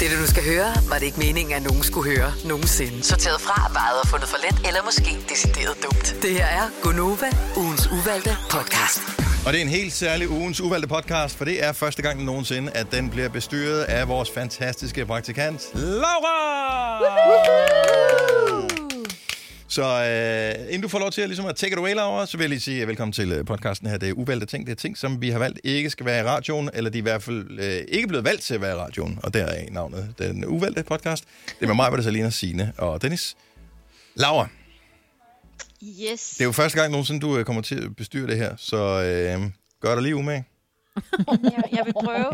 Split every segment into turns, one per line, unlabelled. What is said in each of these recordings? Det, du nu skal høre, var det ikke meningen, at nogen skulle høre nogensinde.
Sorteret fra, vejet og fundet for let, eller måske decideret dumt.
Det her er Gonova, ugens uvalgte podcast.
Og det er en helt særlig ugens uvalgte podcast, for det er første gang nogensinde, at den bliver bestyret af vores fantastiske praktikant, Laura! Så øh, inden du får lov til at, ligesom at take it away, Laura, så vil jeg lige sige øh, velkommen til øh, podcasten her. Det er uvalgte ting. Det er ting, som vi har valgt ikke skal være i radioen, eller de er i hvert fald øh, ikke blevet valgt til at være i radioen, og der er navnet den uvalgte podcast. Det er med mig, hvor det er Salina, Signe og Dennis. Laura,
Yes.
det er jo første gang nogensinde, du øh, kommer til at bestyre det her, så øh, gør dig lige umage.
jeg, jeg vil prøve.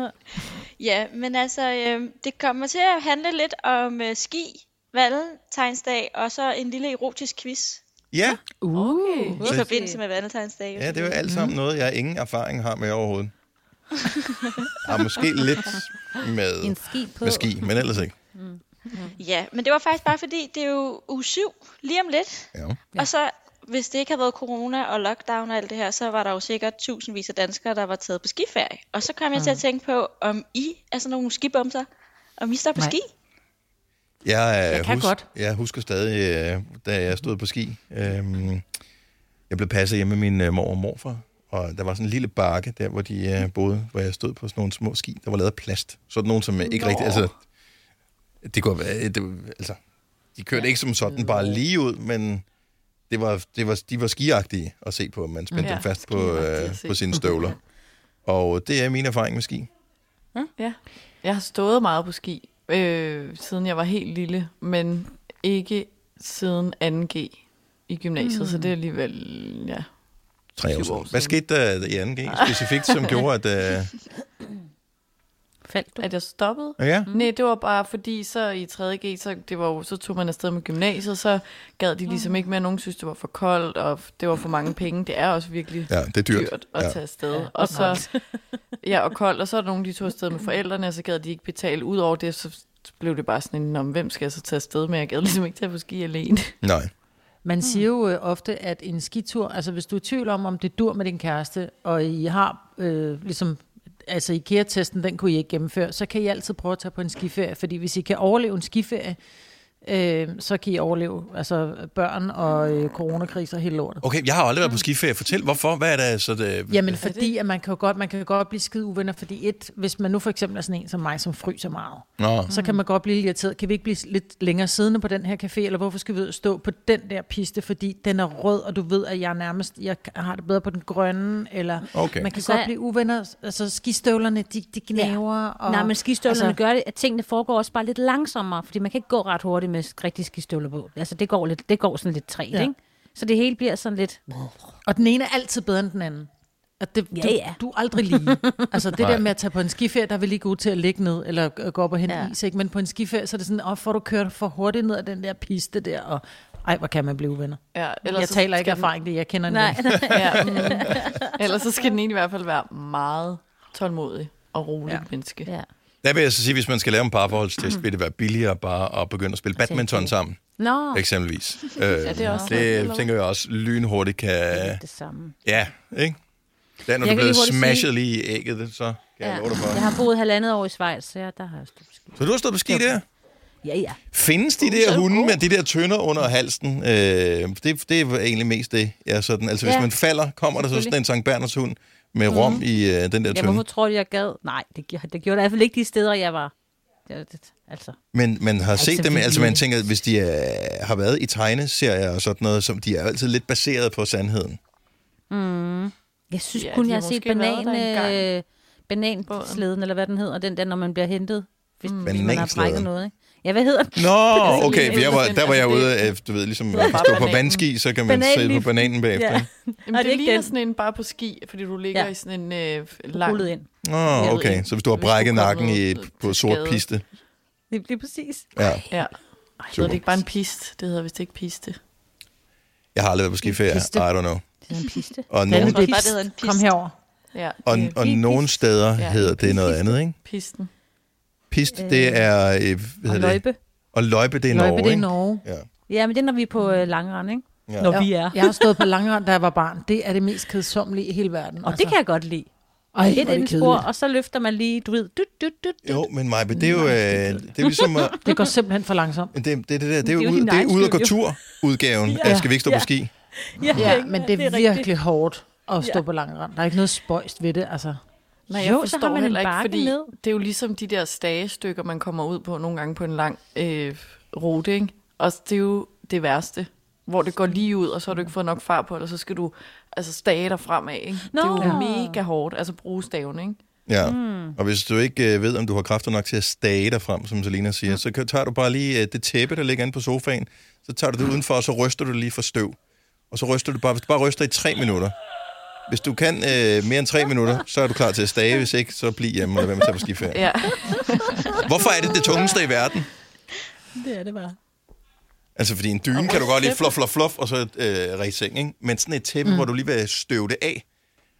ja, men altså, øh, det kommer til at handle lidt om øh, ski, valentinsdag, og så en lille erotisk quiz
Ja,
Okay.
i forbindelse med valentinsdag.
ja det Mhm. er jo alt sammen noget, jeg ingen erfaring har med overhovedet. Og måske lidt med,
En ski på.
med ski, men ellers ikke.
ja, men det var faktisk bare fordi, det er jo uge 7 lige om lidt,
Ja.
ja. og så hvis det ikke havde været corona og lockdown og alt det her, så var der jo sikkert tusindvis af danskere, der var taget på skiferie. Og så kom jeg til at tænke på, om I er sådan nogle skibomser, om I står på
Nej.
ski?
Jeg, øh,
Jeg kan
hus-
godt.
Jeg husker stadig, øh, da jeg stod på ski. øhm, jeg blev passet hjemme med min øh, mor og morfar, og der var sådan en lille bakke der, hvor de øh, boede, hvor jeg stod på sådan nogle små ski, der var lavet af plast. Sådan nogle, som øh, ikke rigtig... Altså, det kunne, være- det, altså, de kørte ikke som sådan bare lige ud, men det var, det var, de var skiagtige at se på. Man spændte
Ja,
ja, dem fast på,
skiagtige
øh,
at se
på sine
på.
støvler. Og det er min erfaring med ski.
Ja. Jeg har stået meget på ski, øh, siden jeg var helt lille, men ikke siden 2G i gymnasiet, mm. så det er alligevel, ja.
Tre år
Syv år
siden. Hvad
siden.
skete der i 2G specifikt, som gjorde, at... Øh,
Faldt du?
At jeg stoppede?
ja?
Mm. Nej, det var bare fordi, så i 3.G, så, det var jo, så tog man afsted med gymnasiet, så gad de ligesom ikke mere, nogen synes, det var for koldt, og f- det var for mange penge. Det er også virkelig
Ja, det er dyrt.
dyrt at
Ja.
tage afsted. Ja, og så, ja, og koldt, og så er der nogen, de tog afsted med forældrene, og så gad de ikke betale. Udover det, så blev det bare sådan en, om hvem skal jeg så tage afsted med? Jeg gad ligesom ikke tage på ski alene.
Nej.
Man siger jo øh, ofte, at en skitur, altså hvis du er i tvivl om, om det dur med din kæreste, og I har øh, ligesom, altså IKEA-testen, den kunne I ikke gennemføre, så kan I altid prøve at tage på en skiferie, fordi hvis I kan overleve en skiferie, øh, så kan I overleve altså børn og øh, coronakriser og hele lortet.
Okay, jeg har aldrig været på skiferie. Fortæl, hvorfor? Hvad er det så det...
Jamen fordi, at man kan jo godt, man kan jo godt blive skide uvenner, fordi et, hvis man nu for eksempel er sådan en som mig, som fryser meget,
Nå,
så kan man godt blive lidt irriteret. Kan vi ikke blive lidt længere siddende på den her café, eller hvorfor skal vi ud og stå på den der piste, fordi den er rød, og du ved, at jeg nærmest jeg har det bedre på den grønne, eller
Okay.
man kan
Så-
så, godt blive uvenner. Altså skistøvlerne, de, de gnaver. Ja. Og,
Nej, men skistøvlerne altså...
altså-
gør det, at tingene foregår også bare lidt langsommere, fordi man kan ikke gå ret hurtigt med rigtig skistøvler på. Altså, det går, lidt, det går sådan lidt træt, ja.
Ja.
ikke? Så det hele bliver sådan lidt...
og den ene er altid bedre end den anden. Og det,
Ja,
du,
ja.
du er aldrig lige. Altså det
Nej.
der med at tage på en skiferie, der er vi lige gode til at ligge ned, eller øh, gå op og hente
Ja.
ja. is, ikke? men på en skiferie, så er det sådan, åh, får du kørt for hurtigt ned ad den der piste der, og ej, hvor kan man blive uvenner.
Ja,
Ellers jeg
så
taler ikke
skal den-
erfaring, det jeg kender en
Nej,
ven.
Ja, mm, ellers så skal den egentlig i hvert fald være meget tålmodig og rolig ja.
Ja.
menneske.
ja.
der vil jeg så sige, hvis man skal lave en parforholdstest, vil det være billigere bare at begynde at spille badminton sammen,
Nå, ikke.
eksempelvis. Øh,
det er også lidt,
det
eller
tænker jeg også lynhurtigt kan...
det samme.
Ja, ikke? Der, når du
Jeg kan
bliver
lige hurtigt
smashet lige i ægget, så kan jeg
Ja.
love dig
Jeg
for.
har boet halvandet år i Schweiz, så jeg, der har jeg stået på ski.
Så du har stået på ski der?
Ja, ja.
Findes
Uh,
de der hunde med de der tønder under halsen? Øh, det, det er egentlig mest det. Ja, sådan. Altså, hvis
Ja, Mhm.
man falder, kommer der så sådan en Sankt Berners hund med rom i øh, den der
Ja,
tønde.
hvorfor tror du, jeg gad? Nej, det, gi- det gjorde det i hvert fald ikke de steder, jeg var. Det, det, altså,
Men man har set
så
dem,
vildt
altså man
lille.
tænker, hvis de er, har været i tegneserier og sådan noget, som de er jo altid lidt baseret på sandheden.
Mm. jeg synes
Ja,
ja, kun,
de
jeg
har
har set
måske været
banan,
der engang.
øh, banansleden, eller hvad den hedder, den der, når man bliver hentet, hvis, mm. hvis man har
Banansleden.
brækket noget. Ikke? Ja, hvad hedder den?
Nå,
sådan
okay,
lidt
for jeg var, der var jeg
altså,
ude
det-
af, du ved, ligesom
var
man kan
bare
stå på
bananen.
vandski, så kan man sidde på
Bananlift.
bananen bagefter.
Ja.
Jamen,
Og
det,
det er
det
ikke
ligner
den.
sådan en bare på ski, fordi du ligger ja.
Ja.
i sådan en øh, lang...
Rullet ind.
Nå,
ved
okay,
ikke,
så hvis du har
hvis du
brækket
kommer
nakken i,
til
på sort
skade.
piste.
Det bliver præcis.
Ja.
Ja. Ej, hedder
Super.
det ikke bare en pist? Det hedder vist ikke piste.
Jeg har aldrig været på skiferie,
Piste.
I don't know.
Det er en piste.
Og,
Ja,
nogen,
det er
bare, det hedder en
pist. Kom
pist.
herover.
Ja,
og,
det er
og
pi-
nogle steder
Ja,
hedder det noget andet, ikke?
Pisten.
Pist, det er... øh, Hvad
Og
hedder det?
løjpe.
Og løjpe, det er
Løjpe,
Norge,
det er
ikke?
Norge.
Ja.
Ja, men det er, når vi er på øh, langrand, ikke?
Ja.
Når vi er.
Jeg har stået på langrand, da jeg var barn. Det er det mest kedsommelige i hele verden.
Altså.
altså.
Og det kan jeg godt lide.
Ej,
Et
hvor er det
indspor,
kedeligt.
og så løfter man lige, du ved, dut, dut, dut.
Jo, men Majbe, det er jo, øh, det er jo ligesom at,
Det går simpelthen for langsomt.
det, det, det, der, det er
jo
jo
din
ud, det er
egen
ud og gå
skyld,
tur-udgaven ja. af Skal vi ikke stå ja. på ski?
Ja,
Ja, men det er,
rigtigt.
virkelig hårdt at stå
Ja.
ja. på lang rand. Der er ikke noget spøjst ved det, altså.
Nej,
Jo,
jeg
så
forstår
har man en
heller ikke,
bakke
fordi
ned.
det er jo ligesom de der stagestykker, man kommer ud på nogle gange på en lang øh, rute, ikke? Og det er jo det værste, hvor det går lige ud, og så har du ikke fået nok far på, og så skal du altså stage dig fremad, ikke? Det er jo
Nå.
mega hårdt, altså bruge staven, ikke?
Ja, mm. og hvis du ikke øh, ved, om du har kræfter nok til at stage dig frem, som Selina siger, mm. så kan- tager du bare lige øh, det tæppe, der ligger inde på sofaen, så tager du det udenfor, og så ryster du det lige for støv. Og så ryster du bare, hvis du bare ryster i tre minutter. Hvis du kan øh, mere end tre minutter, så er du klar til at stage. Hvis ikke, så bliv hjemme og lad være med at tage på skiferie.
Ja.
Hvorfor er det det tungeste i verden?
Det er det bare.
Altså, fordi en dyne kan du godt lige fluff, fluff, fluff, og så øh, ræse seng, ikke? Men sådan et tæppe, mm. hvor du lige vil støve det af,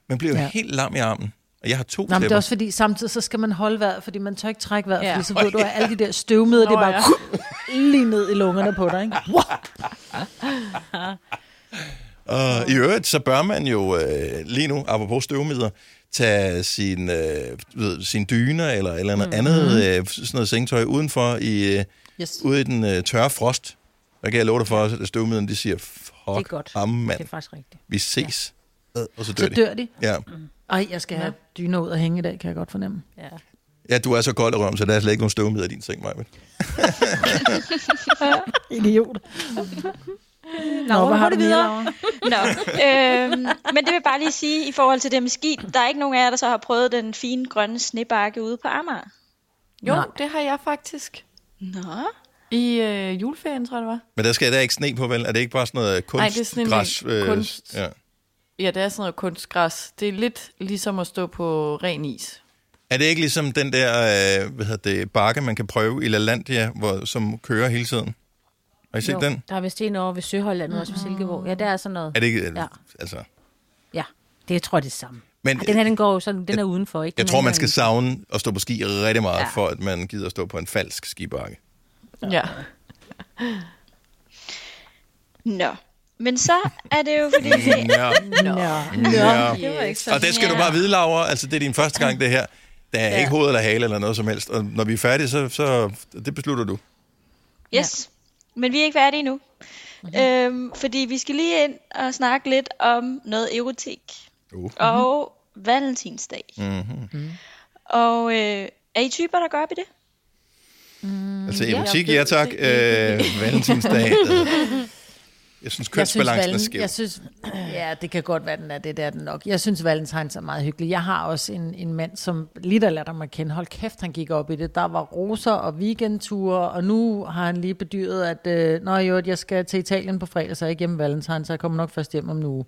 man bliver jo ja.
Ja.
helt lam i armen. Og jeg har to
Nå, men det
tæpper.
er også fordi, samtidig så skal man holde vejret, fordi man tør ikke trække vejret,
Ja.
ja. fordi så ved du, at alle de der støvmider, det er bare lige ned i lungerne på dig, ikke?
Og i øvrigt, så bør man jo øh, lige nu, apropos støvmider, tage sin, øh, du ved, sin dyner eller, eller noget mm. andet øh, sådan noget sengetøj udenfor i, øh,
Yes.
ude i den øh, tørre frost. Der kan jeg love dig for, at støvmiderne de siger,
Det er
fuck
godt.
ham, mand,
Det er faktisk rigtigt.
vi ses. Ja. Og så dør,
Så
de.
dør de.
Ja.
Ej, jeg skal have dyner ud og hænge i dag, kan jeg godt fornemme.
Ja.
ja, du er så kold i røven, så der er slet ikke nogen støvmider i din seng, Maja.
Idiot. Nå, Nå
hvor
hvad
går
har
det
du mere,
videre?
Laura?
Nå, øhm, men det vil jeg bare lige sige i forhold til det med ski. Der er ikke nogen af jer, der så har prøvet den fine grønne snebakke ude på Amager.
Jo, Nej. det har jeg faktisk.
Nå,
I øh, juleferien, tror jeg, det var.
Men der skal der er ikke sne på, vel? Er det ikke bare sådan noget kunst?
Nej, det er sådan en
græs,
lille kunst.
Ja.
Ja, det er sådan noget kunstgræs. Det er lidt ligesom at stå på ren is.
Er det ikke ligesom den der øh, hvad hedder det, bakke, man kan prøve i LaLandia, hvor, som kører hele tiden? Har I set
Jo,
den?
Der er vist en over ved Søholland, mm. også ved Silkeborg. Ja, der er sådan noget.
Er det ikke, ja.
Ja.
altså,
Ja, det jeg tror jeg det er det samme.
men
Ja, den her, den går jo sådan, den er udenfor, ikke? Den
jeg tror,
er
man skal
herinde.
savne at stå på ski rigtig meget, ja.
Ja.
for at man gider at stå på en falsk skibakke.
Ja. ja.
nå. Men så er det jo fordi... Det,
Ja. Ja.
det var ikke så
Og det skal du bare vide, Laura. Altså, det er din første gang, det her. Der er ja. ikke hoved eller hale eller noget som helst. Og når vi er færdige, så, så det beslutter du.
Yes. Ja. Men vi er ikke færdige endnu. Mm-hmm. Øhm, fordi vi skal lige ind og snakke lidt om noget erotik.
Uh.
Og valentinsdag. Mm-hmm. Og øh, er I typer, der går op i det?
Altså
ja.
erotik,
Jeg
ja
ved
tak.
det
Øh, valentinsdag. Altså, jeg synes,
Jeg synes,
kønsbalancen er
valen-
skæv.
Jeg synes, ja, det kan godt være, den er det, der den nok. Jeg synes, Valentines er meget hyggelig. Jeg har også en, en mand, som lige der lader mig kende. Hold kæft, han gik op i det. Der var roser og weekendture, og nu har han lige bedyret, at øh, Nå, jo, at jeg skal til Italien på fredag, så er jeg ikke hjemme Valentines, så jeg kommer nok først hjem om en uge.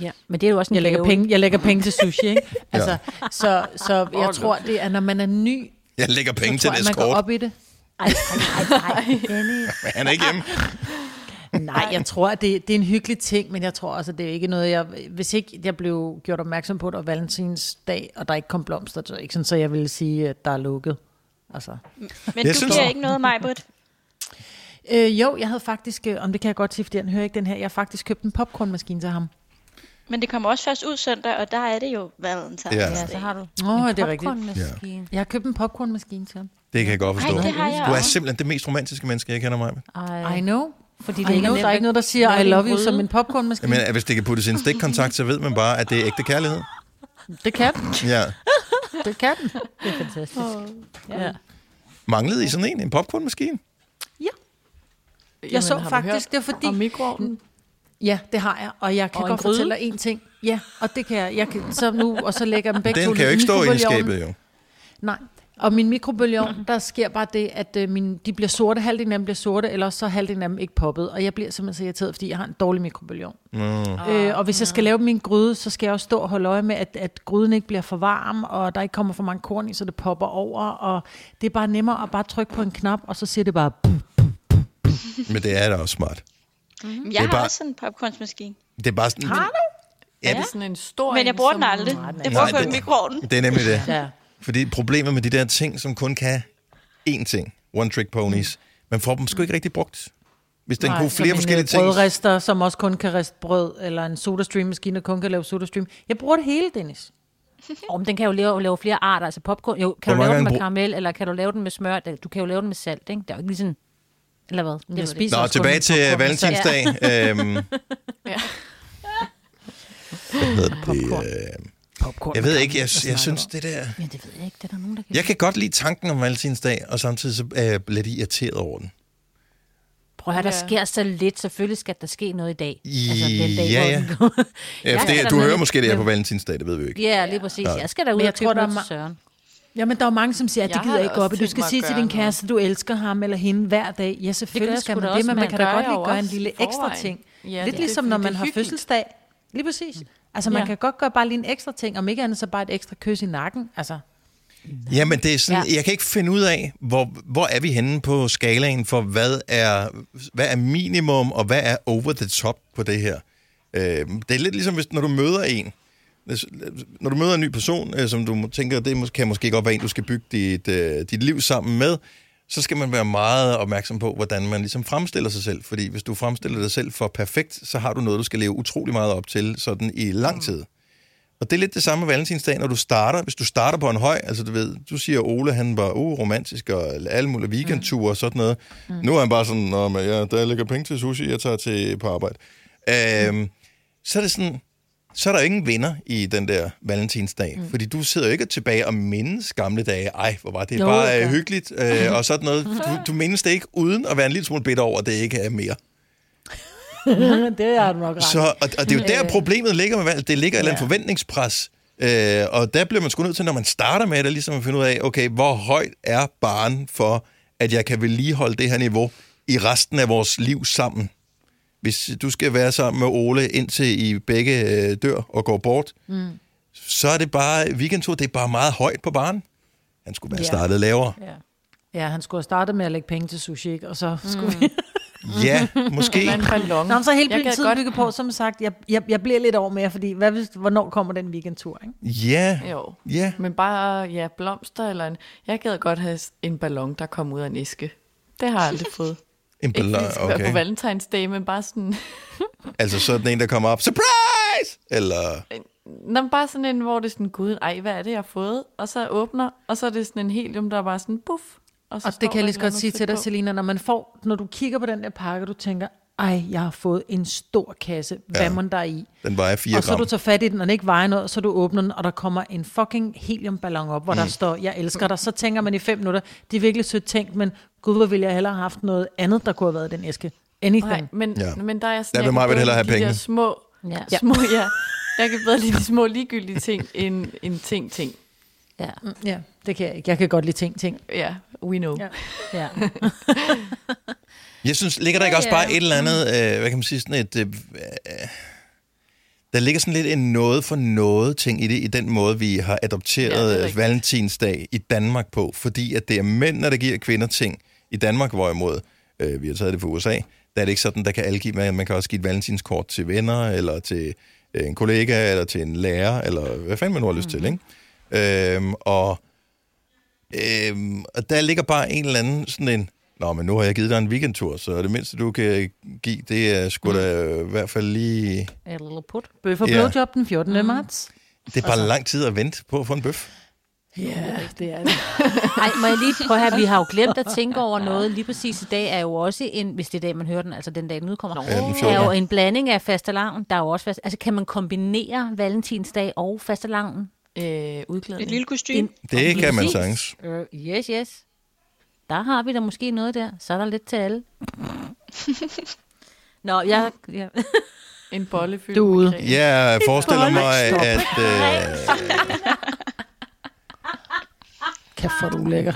Ja, men det er jo også en
Jeg lægger,
gave.
penge, jeg lægger penge til sushi, ikke? Altså, så, så jeg tror, det er, når man er ny,
Jeg lægger penge
så
til
tror jeg,
det
man går
skort.
op i det.
Ej, ej, ej, ej, Dennis.
Han er ikke hjemme.
Nej, jeg tror, at det, det er en hyggelig ting, men jeg tror også, at det er ikke noget, jeg... Hvis ikke jeg blev gjort opmærksom på, at det var valentinsdag, og der ikke kom blomster, så, ikke sådan, så jeg ville sige, at der er lukket. Altså.
Men
Jeg
du
synes-
giver ikke noget, Majbrit.
Øh, jo, jeg havde faktisk... øh, Om det kan jeg godt sige, fordi han hører ikke den her. Jeg har faktisk købt en popcornmaskine til ham.
Men det kommer også først ud søndag, og der er det jo valentinsdag.
Ja.
Ja, så har du
Åh, oh, det er rigtigt.
popcornmaskine.
Jeg har købt en popcornmaskine til ham.
Det kan jeg godt forstå.
Ej, det har jeg
du er
også.
simpelthen det mest romantiske menneske, jeg kender mig.
Ej,
I know.
fordi
I
det ikke
know,
nemt
der er
at
ikke noget, der siger,
lave
I
din
love you
gryde.
som en popcornmaskine.
Men hvis det kan puttes i en stikkontakt, så ved man bare, at det er ægte kærlighed.
Det kan den.
Ja.
Det kan den.
Det er fantastisk. Ja.
Manglede I sådan en? En popcornmaskine?
så faktisk, det er fordi-
Og mikroovnen.
Ja, det har jeg, og jeg kan
Og en
godt
gryde.
fortælle dig en ting. Ja, og det kan jeg. jeg kan, så nu, og så lægger jeg dem begge
Den
to
kan jo ikke stå i
mikrobølgeovnen.
skabet, jo.
Nej. Og min mikrobølgeovn, der sker bare det, at øh, min, de bliver sorte, halvdelen af dem bliver sorte, eller også så er halvdelen af dem ikke poppet. Og jeg bliver simpelthen så irriteret, fordi jeg har en dårlig mikrobølgeovn. Mm. Øh, og hvis jeg skal lave min gryde, så skal jeg også stå og holde øje med, at, at gryden ikke bliver for varm, og der ikke kommer for mange korn i, så det popper over. Og det er bare nemmere at bare trykke på en knap, og så siger det bare... "Pum."
Men det er da også smart.
Men
Det
Jeg
er
har
bare-
også sådan en popcornmaskine.
Det er bare sådan... Har du? Ja,
Er det sådan en stor
Men jeg
en,
bruger den
som-
aldrig.
Nej,
Jeg bruger
det-
kun mikroovnen.
det er nemlig det.
Ja.
Fordi problemet med de der ting, som kun kan én ting, one trick ponies, man får dem sgu ikke rigtig brugt. Hvis den kunne flere
øh,
forskellige ting...
Brødrester, som også kun kan riste brød, eller en sodastream-maskine, der kun kan lave sodastream. Jeg bruger det hele, Dennis.
Om den kan jo lave, lave flere arter, altså popcorn. Jo,
Hvor
kan du
mange
lave
gange
den med
brug-
karamel, eller kan du lave den med smør? Eller Du kan jo lave den med salt, ikke? Det er jo ikke lige sådan... Eller hvad? Jeg,
Jeg
ved det
spiser
Nå,
også kun
tilbage
med
til øh,
popcorn.
valentinsdag. øhm,
Ja.
hvad hedder det, øhm,
popcorn.
jeg ved ikke, jeg, jeg synes det der...
Ja, det ved jeg ikke. Det er der nogen, der kan...
Jeg kan godt lide tanken om valentinsdag, og samtidig så er jeg lidt irriteret over den.
Prøv at høre, der
Ja.
sker så lidt. Selvfølgelig skal der ske noget i dag.
Ja,
hvor
ja.
den går.
Ja, for
skal
det,
da
du
med-
hører måske det her på valentinsdag, det ved vi jo ikke.
Ja, lige præcis. Jeg skal da ud
Men jeg
og købe
tror, der er
noget til
ma-
Søren.
Jamen, der er jo mange, som siger, at det
Jeg har
gider jeg
da
ikke
også
op. Du
tænkt
skal
mig at
sige til
gøre
din
noget.
kæreste, du elsker ham eller hende hver dag. Ja,
Det
selvfølgelig
gør
skal
jeg
man
sgu da
det,
også,
men man
men
kan
det
da
gør
godt
jeg
lige
jo
gøre en
også i
lille ekstra
forvejen.
ting.
Ja, det
Lidt
er
ligesom,
fordi
når
det er
man har
hyggeligt.
fødselsdag. Lige præcis. Altså,
Ja.
man kan godt gøre bare lige en ekstra ting. Om ikke andet, så bare et ekstra kys i nakken. Altså,
Jamen, det er sådan, ja.
Ja.
jeg kan ikke finde ud af, hvor, hvor er vi henne på skalaen for, hvad er, hvad er minimum, og hvad er over the top på det her. Øh, det er lidt ligesom, hvis, når du møder en. Hvis- Når du møder en ny person, øh, som du må- tænker, det mås- kan måske godt være en, du skal bygge dit, øh, dit liv sammen med, så skal man være meget opmærksom på, hvordan man ligesom fremstiller sig selv. Fordi hvis du fremstiller dig selv for perfekt, så har du noget, du skal leve utrolig meget op til sådan i lang tid. Og det er lidt det samme med valentinsdag, når du starter. Hvis du starter på en høj, altså du ved, du siger, Ole han var uh, romantisk og alle mulige weekendture og sådan noget. Mm. Nu er han bare sådan, Nå, men ja, der ligger penge til sushi, jeg tager til på arbejde. Øhm, så er det sådan, så er der jo ingen vinder i den der valentinsdag. Mm. Fordi du sidder jo ikke tilbage og mindes gamle dage. Ej, hvor var det jo,
Jo,
bare
det
øh,
gør.
hyggeligt øh, og sådan noget. Du, du mindes det ikke uden at være en lille smule bitter over, at det ikke er mere.
det er nok ret.
Så, og, og det er jo
Øh.
der, problemet ligger med valg. Det ligger ja. et eller andet forventningspres. Øh, og der bliver man sgu nødt til, når man starter med det, ligesom at finde ud af, okay, hvor højt er barn for, at jeg kan vedligeholde det her niveau i resten af vores liv sammen? Hvis du skal være sammen med Ole, indtil I begge øh, dør og går bort, mm. så er det bare, weekendtur, det er bare meget højt på barn. Han skulle være
Ja.
startet lavere.
Ja. ja, han skulle have startet med at lægge penge til sushi, ikke? og så skulle mm. vi...
Ja, måske.
Eller en ballon.
Nå, men så helt
Jeg
byen
gad
tiden
godt-
godt... bygge på, som sagt, jeg, jeg, jeg bliver lidt over mere, fordi hvad hvis, hvornår kommer den weekendtur, ikke?
Ja,
Jo.
ja.
Men bare, ja, blomster eller en... Jeg gad godt have en ballon, der kom ud af en æske. Det har jeg aldrig fået.
En
Ikke fordi
ballon,
det skal være på
okay.
Valentinsdag, men bare sådan...
Altså sådan en, der kommer op, surprise! Eller...
Nå, men bare sådan en, hvor det er sådan, gud, ej, hvad er det, jeg har fået? Og så åbner, og så er det sådan en helium, der er bare sådan, buff. så
Og
står
det kan
der
jeg
et
lige så
eller
godt
andet
sige
fedt
til dig,
på.
Selina, når man får, når du kigger på den der pakke, du tænker, ej, jeg har fået en stor kasse, hvad
Ja.
ja. man der er i.
Den vejer 4
Og så
gram.
du tager fat i den, og den ikke vejer noget, og så du åbner den, og der kommer en fucking heliumballon op, hvor mm. der står, jeg elsker dig. Så tænker man i fem minutter, det er virkelig sødt tænkt, men gud, hvor ville jeg hellere have haft noget andet, der kunne have været i den æske. Anything.
Nej, men,
Ja.
ja. men der er jeg
Der
sådan,
vil mig vel
bedre
hellere have
lide de
penge.
der små,
Ja.
ja. små, ja. Jeg kan bedre lide de små ligegyldige ting, end, end ting, ting.
Ja.
Mm, Ja, det kan jeg ikke. Jeg kan godt lide ting, ting.
Ja, we know. Ja.
Ja. Ja.
Jeg synes, ligger der ikke også bare et eller andet, øh, hvad kan man sige, sådan et... Øh, øh, der ligger sådan lidt en noget for noget ting i det, i den måde, vi har
Ja, det er
adopteret ja,
rigtigt.
valentinsdag i Danmark på, fordi at det er mænd, der giver kvinder ting. I Danmark, hvorimod øh, vi har taget det fra USA, der er det ikke sådan, der kan alle give, man man kan også give et valentinskort til venner, eller til øh, en kollega, eller til en lærer, eller hvad fanden man nu har lyst mm-hmm. til, ikke? Øhm, og... Øhm, og der ligger bare en eller anden sådan en, Nå, men nu har jeg givet dig en weekendtur, så det mindste, du kan give, det er sgu da øh, i hvert fald lige...
A little put.
Bøf og
Ja.
blowjob den 14. Mm. marts.
Det er
Altså.
bare lang tid at vente på at få en bøf. øh,
Ja, det er det.
Ej, må jeg lige prøve her, vi har jo glemt at tænke over noget. Lige præcis i dag er jo også en, hvis det er i dag, man hører den, altså den dag, den udkommer,
Ja, den
er jo
14.
en blanding af fastelavn, der er jo også fast, altså kan man kombinere valentinsdag og fastelavn?
Øh, udklædning.
Et lille kostume.
Det kan man
Præcis.
sagtens.
Øh, yes, yes. Der har vi da måske noget der, så er der lidt til alle. Nå, jeg... Ja.
En bolle fyldt
Du er
med
ude.
øh,
creme.
Jeg forestiller mig, at... Øh,
Kæft, hvor er du lækker.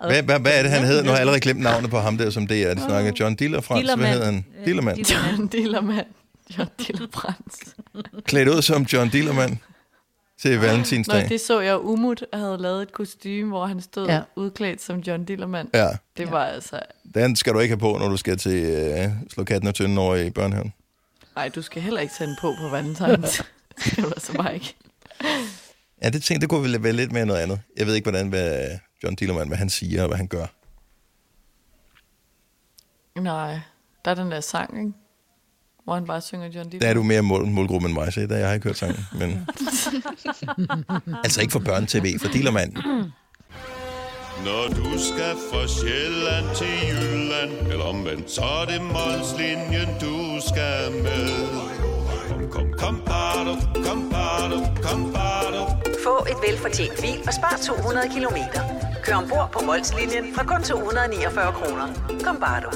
hvad, hvad, hvad er det, han hed? Nu har jeg allerede glemt navnet på ham der, som det er. Det snakker John Diller fra. Hvad
Dillermand. Øh,
hed han? Dillermand.
John Dillermand. John Dillerbrand.
Klædt ud som John Dillermand
Ah,
til
Nå,
valentinsdag.
det så jeg umut, havde lavet et kostume, hvor han stod
Ja.
ja. udklædt som John Dillermand.
Ja,
Det var altså...
den skal du ikke have på, når du skal til øh, slå katten og tynden over i børnehaven.
Nej, du skal heller ikke tage den på på valentines. det skal du altså bare ikke.
Ja, det tænkte, det kunne vel være lidt mere noget andet. Jeg ved ikke, hvordan hvad John Dillermand, hvad han siger og hvad han gør.
Nej, der er den der sang, ikke? hvor han bare synger John Deep.
Der er du mere mål, målgruppe end mig, så der, jeg har ikke hørt sangen. Men... altså ikke for børne-tv, for dealermand.
Når du skal fra Sjælland til Jylland Eller omvendt, så er det Molslinjen, du skal med Kom, kom, kom, bado, kom, bado, kom, bado.
Få et velfortjent bil og spar 200 kilometer. Kør ombord på Molslinjen fra kun 249 kroner. Kom bare du.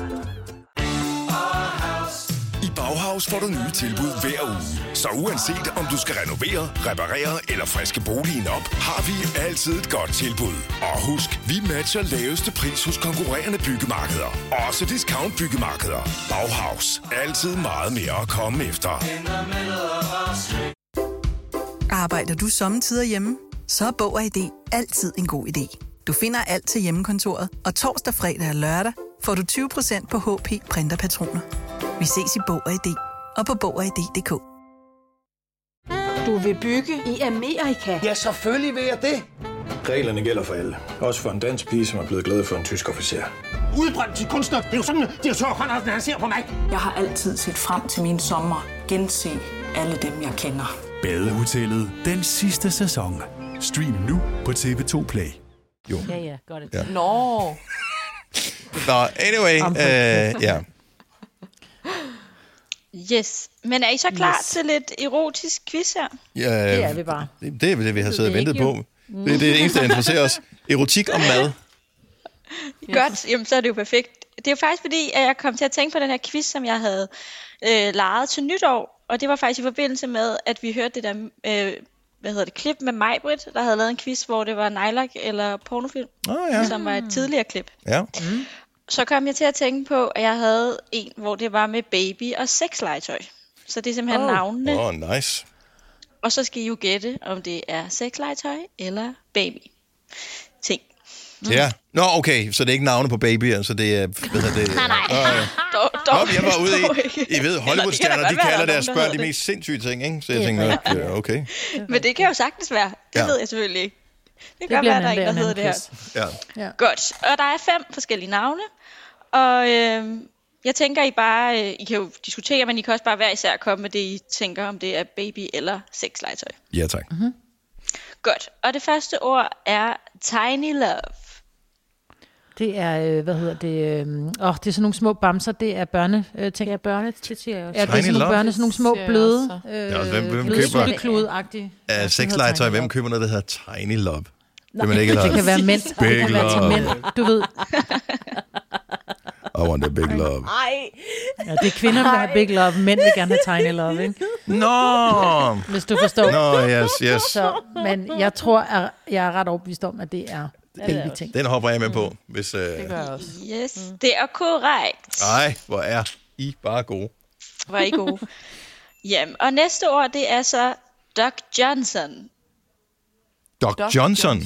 I Bauhaus får du nye tilbud hver uge. Så uanset om du skal renovere, reparere eller friske boligen op, har vi altid et godt tilbud. Og husk, vi matcher laveste pris hos konkurrerende byggemarkeder. Også discount byggemarkeder. Bauhaus. Altid meget mere at komme efter.
Arbejder du sommetider hjemme? Så er Bog og ID altid en god idé. Du finder alt til hjemmekontoret, og torsdag, fredag og lørdag får du 20% på HP printerpatroner. Vi ses i Bog og ID og på Bog og ID.dk.
Du vil bygge i Amerika? Ja, selvfølgelig vil jeg det.
Reglerne gælder for alle. Også for en dansk pige, som er blevet glad for en tysk officer.
Udbrændt til kunstner. Det er jo sådan, at de har Conradsen, han ser på mig.
Jeg har altid set frem til min sommer. Gense alle dem, jeg kender.
Badehotellet. Den sidste sæson. Stream nu på TV2 Play.
Jo.
Ja, ja, godt.
Ja.
Ja.
Nå.
Nå, anyway. Øh, ja.
Yes. Men er I så klar yes. til lidt erotisk quiz her?
ja.
Det er vi bare.
Det, det er det, vi har
Det
siddet og
ved vi
ventet
ikke,
på.
jo.
Det, det er det eneste, der interesserer os. Erotik og mad.
Yes. Godt, jamen så er det jo perfekt. Det er jo faktisk fordi, at jeg kom til at tænke på den her quiz, som jeg havde øh, lejet til nytår. Og det var faktisk i forbindelse med, at vi hørte det der, øh, hvad hedder det, klip med Majbrit, der havde lavet en quiz, hvor det var Nylak eller pornofilm,
oh, ja.
som var et tidligere klip.
Ja.
Så kom jeg til at tænke på, at jeg havde en, hvor det var med baby og sexlegetøj. Så det er simpelthen oh. navnene.
Åh, oh, nice.
Og så skal I jo gætte, om det er sexlegetøj eller baby. Ting.
Ja. Nå, okay, så det er ikke navne på babyer, så det er... Hvad hedder det?
Nej, nej.
Nå, ja.
Dog,
Nå,
dog,
jeg var ude i,
dog
I ved,
ikke.
Hollywood-stjerner,
Eller
de
det kan da
kalder
godt være, der er
deres
nogen, der
børn de
hedder
mest sindssyge ting, ikke? Så jeg
Det er
tænker, ja, okay.
det. Men det kan jo sagtens være. Det
Ja.
ja. ved jeg selvfølgelig ikke. Det
Det
kan godt
bliver
være,
en
der er
anden
ikke, der
dag,
hedder det her.
anden
Ja.
Ja.
Godt. Og der er fem forskellige navne. Og øhm, jeg tænker, I bare... Øh, I kan jo diskutere, men I kan også bare hver især komme med det, I tænker, om det er baby eller sexlegetøj.
Ja, tak.
Godt. Og det første ord er tiny love.
Det er, øh, hvad hedder det, øh, åh, det er sådan nogle små bamser, det er børne, øh, ting. Ja,
børne, det siger jeg også.
Ja, det er sådan nogle
Love.
børne, sådan nogle små
Det siger jeg
bløde, øh,
Ja, og hvem- hvem
bløde
køber-
sutteklude-agtige.
Uh, sexlegetøj, hvem køber noget, der hedder Tiny Love? Vil man ikke
det
have?
kan være mænd.
Big
det kan være til
love.
mænd, du ved.
I want a big love.
Ja, det er kvinder, der har big love, mænd vil gerne have tiny love, ikke?
Nå!
Hvis du forstår.
Nå, yes, yes.
Så, men jeg tror, at jeg er ret overbevist om, at det er baby ting.
Den hopper jeg med på, hvis... Øh...
Yes, mm. det er korrekt.
Ej, hvor er I bare gode.
Var I gode. Jamen, og næste ord, det er så Doc Johnson.
Doc, Johnson.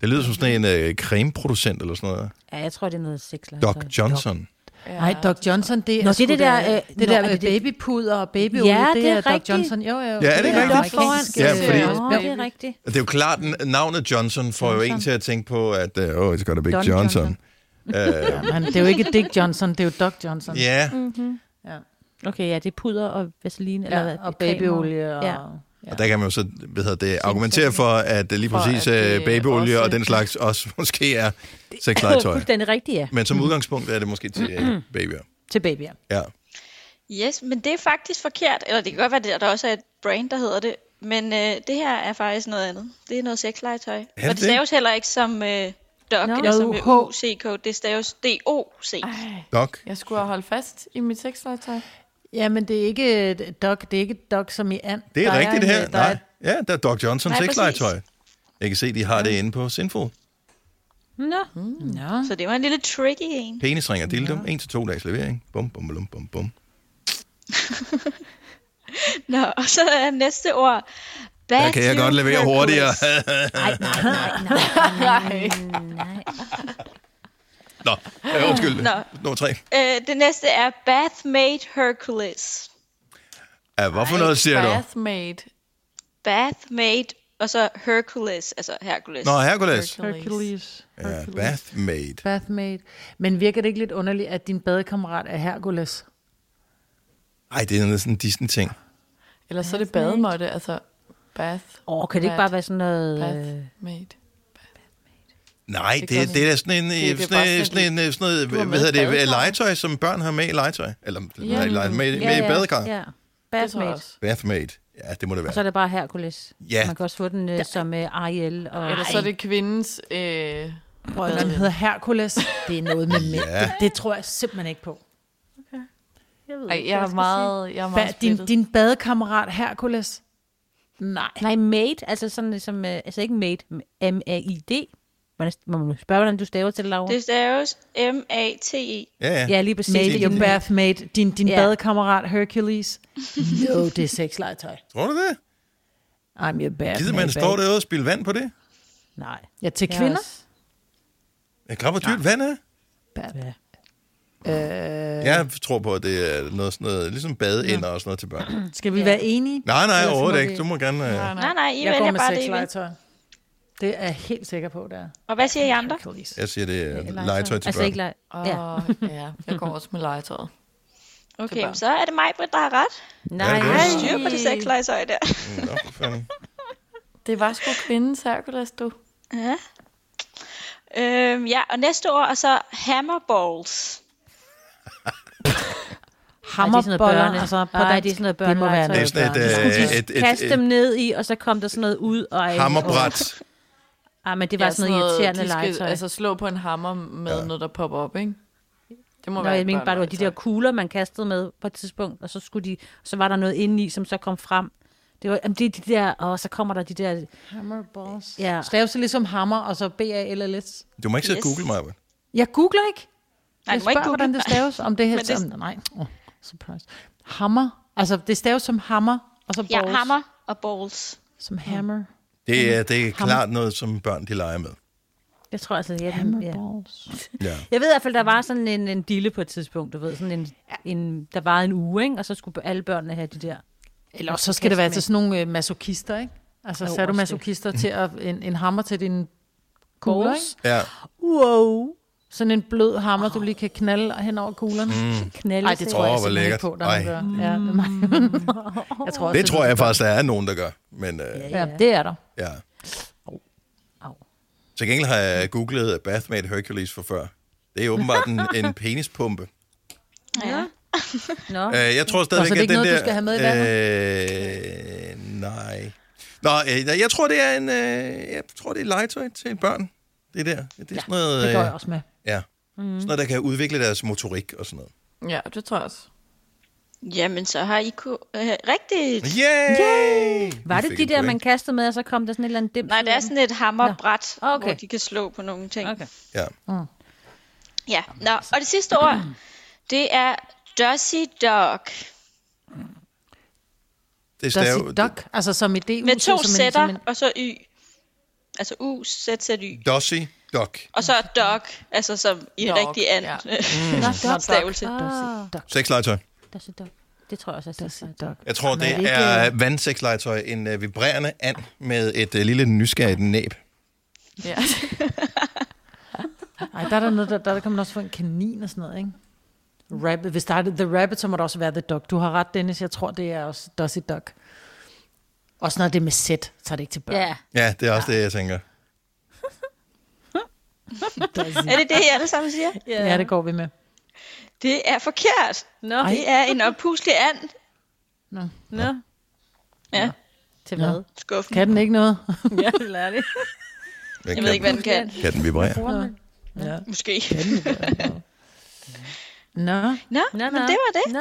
Det lyder som sådan en øh, cremeproducent eller sådan noget.
Ja, jeg tror, det er noget sexlegetøj.
Doc Johnson.
Nej, Doc Johnson, det er
Nå, det er
sgu
det der, øh,
det
nå,
der
er
med
det det-
babypuder og babyolie,
Ja, det er
Doc
rigtigt.
Johnson. Jo, jo. Ja,
er det ikke rigtigt?
Ja,
Ja, fordi-
Nå, det er rigtigt.
Det er jo klart, at navnet Johnson får jo en til at tænke på, at øh, oh, it's got a big
Don
Johnson. Øh,
Men det er jo ikke Dick Johnson, det er jo Doc Johnson.
Ja,
Okay, ja, det er puder og vaseline, eller hvad?
Ja, og babyolie og...
Ja.
og der kan man jo så hvad hedder det, argumentere for, at øh, lige
For,
præcis
at det
øh, babyolie
også-
og den slags også måske er
Det er
sexlegetøj.
fuldstændig rigtigt, ja.
Men som udgangspunkt er det måske til øh, babyer.
Til babyer.
Ja.
Yes, men det er faktisk forkert. Eller det kan godt være, det er- der også er et brand, der hedder det. Men øh, det her er faktisk noget andet. Det er noget sexlegetøj.
det
Og det
det?
staves heller ikke som øh, Doc,
Nå.
no. eller som
J-O-H.
U-C-K. Det staves D-O-C.
Doc.
Jeg skulle have holdt fast i mit sexlegetøj.
Ja, men det er ikke øh, Doc, det er ikke Doc som i and.
Det er
Der
rigtigt
en,
det her.
øh, Der er,
Nej. Ja, der er Doc Johnson
Nej, præcis.
sexlegetøj. Jeg kan se, de har det inde på Sinful.
Nå,
ja.
Så det var en lille tricky en.
Penisring og dildo. En til to dages levering. Bum, bum, bum, bum, bum.
Nå, og så er næste ord. Bad
Der kan jeg godt levere hurtigere.
nej, nej, nej, nej, nej, nej.
Nå, øh, undskyld.
Nå.
Nummer tre.
øh, det næste er Bathmate Hercules.
Ja, hvorfor noget siger du?
Bathmate.
Bathmate, og så Hercules, altså Hercules.
Nå, Hercules.
Hercules.
Hercules.
Ja, Bathmaid.
Bathmate. Men virker det ikke lidt underligt, at din badekammerat er Hercules?
Ej, det er noget sådan en Disney-ting.
Eller så er det bademåtte, altså bath.
Åh, oh, kan det ikke bare være sådan noget... øh,
Øh.
Bath, mate.
Nej, det,
gør
det,
vi
det er
ikke.
sådan en,
Det- det
det,
er
sådan,
bare
en, sådan, en, øh, sådan noget,
Du har
hvad
med
hedder det,
badekar.
legetøj, som børn har med i legetøj. Eller
Ja.
yeah. med, med,
Ja,
i
ja,
badekar.
Ja, Bathmate.
Bathmate. Ja, det må det
Og så er
være.
det bare Hercules.
Ja.
Man kan også få den øh, som øh, Ariel. Og...
Eller så er det kvindens... Øh,
Prøv, den hedder Hercules. Det er noget med mænd.
Ja.
Det, det tror jeg simpelthen ikke på.
Ej, jeg er meget, jeg er meget
Ba- din,
splittet.
din badekammerat Hercules. Nej.
Nej, mate, altså sådan ligesom, øh, altså ikke mate, M-A-I-D. Hvordan- Må man spørge, hvordan du staver til det, Laura?
Det staves M-A-T-E.
Ja, lige præcis.
Mate,
Det
your
er-
bathmate, din, din
Ja.
badekammerat Hercules. No, det er sexlegetøj.
Tror du det?
I'm your bathmate.
Gider man står derude og spille vand på det?
Nej. Ja, til
Jeg
kvinder?
Jeg klar, hvor dyrt vand er?
Ja. Øh,
Jeg tror på, at det er noget sådan noget, ligesom badeender og sådan noget til børn.
Skal vi ja. være enige?
Nej, nej,
Ellers må
overhovedet
vi-
ikke. Du må gerne... øh,
Nej, nej, I
jeg
vælger
går med
bare det, I vil.
sexlegetøj. Det er jeg helt sikker på, det er.
Og hvad siger I andre?
Jeg siger, det er legetøj til
Altså
børn.
ikke lege- ja. Åh, ja, jeg går også med legetøjet.
Okay, men så er det mig, Britt, der har ret.
Nej.
jeg har styr på det sexlegetøj der.
Nå, for fanden.
Det var sgu kvindens Hercules, du.
Ja. Øhm, ja, og næste år er så Hammerballs.
Hammerboller, altså på
Ej,
dansk.
det er sådan noget
Det må være
børneleg.
Det er sådan et, øh, et, et, et,
Kast
et,
dem ned i, og så kom der sådan noget ud. Og
hammerbræt.
Ej, Ah, men det var sådan noget irriterende
de skal,
legetøj.
Altså slå på en hammer med ja. noget, der popper op, ikke? Det må
Nå,
være
jeg
et
mente bare, det var de der kugler, man kastede med på et tidspunkt, og så, skulle de, så var der noget indeni, som så kom frem. Det var, jamen, det er de der, og så kommer der de der...
Hammerballs.
Ja.
Staves det ligesom hammer, og så B-A-L-L-S.
Du må ikke sidde og
Yes.
google mig, vel?
Jeg googler ikke.
Nej,
jeg
du må ikke
spørger, hvordan
google.
det staves, om det her...
Men det-
Det... Nej, oh, surprise. Hammer. Altså, det staves som hammer, og så balls.
Ja, hammer og balls.
Som hammer.
Det er, det er klart noget, som børn de leger med.
Jeg tror altså, jeg, ja.
Ja.
jeg ved i hvert fald, der var sådan en, en dille på et tidspunkt, du ved, sådan en, en, der var en uge, ikke? og så skulle alle børnene have de der. Altså,
Eller også så skal det være til sådan nogle øh, masochister, ikke? Altså,
Jo,
så er du
også det.
masochister til at, en, en hammer til din kugler,
Balls.
ikke?
Ja.
Wow. Sådan en blød hammer, du lige kan knalde hen over kuglerne.
Mm.
Knalde Ej, det tror
Åh,
jeg
hvor
simpelthen ikke
lækkert.
på, der er
Ej.
nogen, der gør. Ja, det er
Mm.
mig. jeg tror også,
Det tror jeg faktisk, der er nogen, der gør. Men, øh,
Ja, det er der.
ja. Til gengæld har jeg googlet Bathmate Hercules for før. Det er åbenbart en, en penispumpe.
Ja. Nå.
Øh, jeg tror
Nå, så det
stadigvæk,
er
at den
ikke noget,
der...
du skal have med i
øh, nej. Nå, øh, jeg tror, det er en... Øh, jeg tror, det er legetøj til børn. Det der. Det er sådan noget...
det går jeg
øh,
også Mhm. med.
Ja. Mm. Sådan noget, der kan udvikle deres motorik og sådan noget.
Ja, det tror jeg også.
Jamen, så har I kunne... Øh, rigtigt!
Yay! Yay!
Var det de der, man kastede med, og så kom der sådan et eller andet dims?
Nej, det er sådan et hammerbræt,
Nå.
okay.
Okay.
hvor de kan slå på nogle ting. Okay.
Ja.
Ja, Nå, og det sidste ord, det er Dusty Dog.
Det
Der
stav,
siger duck, altså som i det.
Med to sætter, og så Y. Altså U, Z, Z, Y.
Dossi Duck.
Og så dog, altså som i dog,
Dog,
rigtig and.
ja.
Ja.
Mm. Nå, dog.
Stavelse.
Ah.
Sexlegetøj.
Der er så dog. Det tror jeg også, er så dog.
Jeg tror,
Men er det
det
ikke,
er
øh,
vandsexlegetøj. En øh, vibrerende and med et øh, lille nysgerrigt næb.
Ja.
Ej, der er der noget, der, der, der kan man også få en kanin og sådan noget, ikke? Rabbit. Hvis der er The Rabbit, så må det også være The Duck. Du har ret, Dennis. Jeg tror, det er også Dusty Duck. Også når det er med sæt, så er det ikke til børn.
Ja.
Ja, det er også det, jeg tænker.
Er det det, I alle sammen siger?
Ja. ja, det går vi med.
Det er forkert. No. Det er en oppuslig and.
Nå.
Nå. Ja.
Til
hvad?
Skuffen.
Kan den ikke noget?
ja, lad det.
Jeg ved ikke, hvad den kan.
Kan den vibrere?
Ja.
Måske.
Nå.
Nå,
nå,
men det var det.
Nå.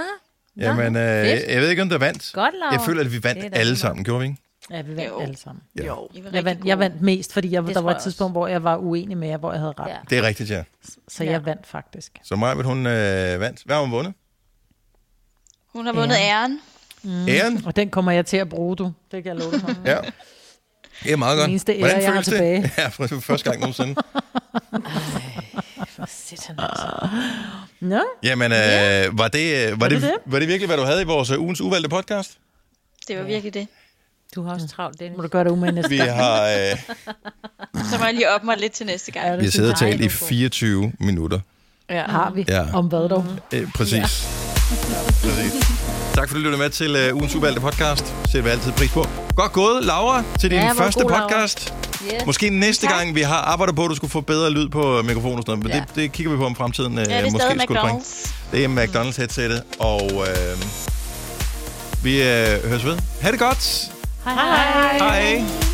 Jamen, øh,
fedt.
jeg ved ikke, om der vandt.
Godt, Laura.
Jeg føler, at vi vandt
Det er da
alle
smart.
sammen, gjorde vi ikke?
Ja, vi vandt jo. alle sammen.
Ja.
Jo.
Jeg vandt, jeg vandt mest, fordi jeg,
Det
der
tror
var et
jeg
tidspunkt, hvor jeg var uenig med jer, hvor jeg havde ret. Ja.
Det er rigtigt, ja.
Så jeg vandt faktisk.
Så Maja, hun øh, vandt. Hvad har hun vundet?
Hun har vundet
Æren.
æren.
Mm.
Æren?
Og den kommer jeg til at bruge, du. Det kan jeg love dig. for.
Ja. Det er meget
Den
godt.
eneste ære, jeg har tilbage.
det? Ja, for for første gang nogensinde.
Nå,
Jamen, øh, var, det, øh, var, det,
det det?
var det virkelig, hvad du havde i vores øh, ugens uvalgte podcast?
Det var virkelig det.
Du har også travlt, Dennis.
Må du gøre det umage næste
Vi
gang.
har, øh,
Så må jeg lige op mig lidt til næste gang.
vi har siddet og talt i 24 minutter.
Ja.
Har vi?
Ja.
Om hvad dog?
Øh, præcis. præcis. Tak fordi du lyttede med til uh, ugens uvalgte podcast. Sætter vi altid pris på. Godt gået, Laura, til din
Ja,
ja,
hvor
første
god, Laura.
podcast.
Yes.
Måske næste
Tak.
gang, vi har arbejdet på, at du skulle få bedre lyd på øh, mikrofonen og sådan noget, men
Ja.
ja. det, det kigger vi på om fremtiden øh,
det er stadig
måske skulle bringe.
McDonald's.
Det er McDonald's-headsettet, og øh, vi øh, høres ved. Ha' det godt!
Hej hej.
Hej.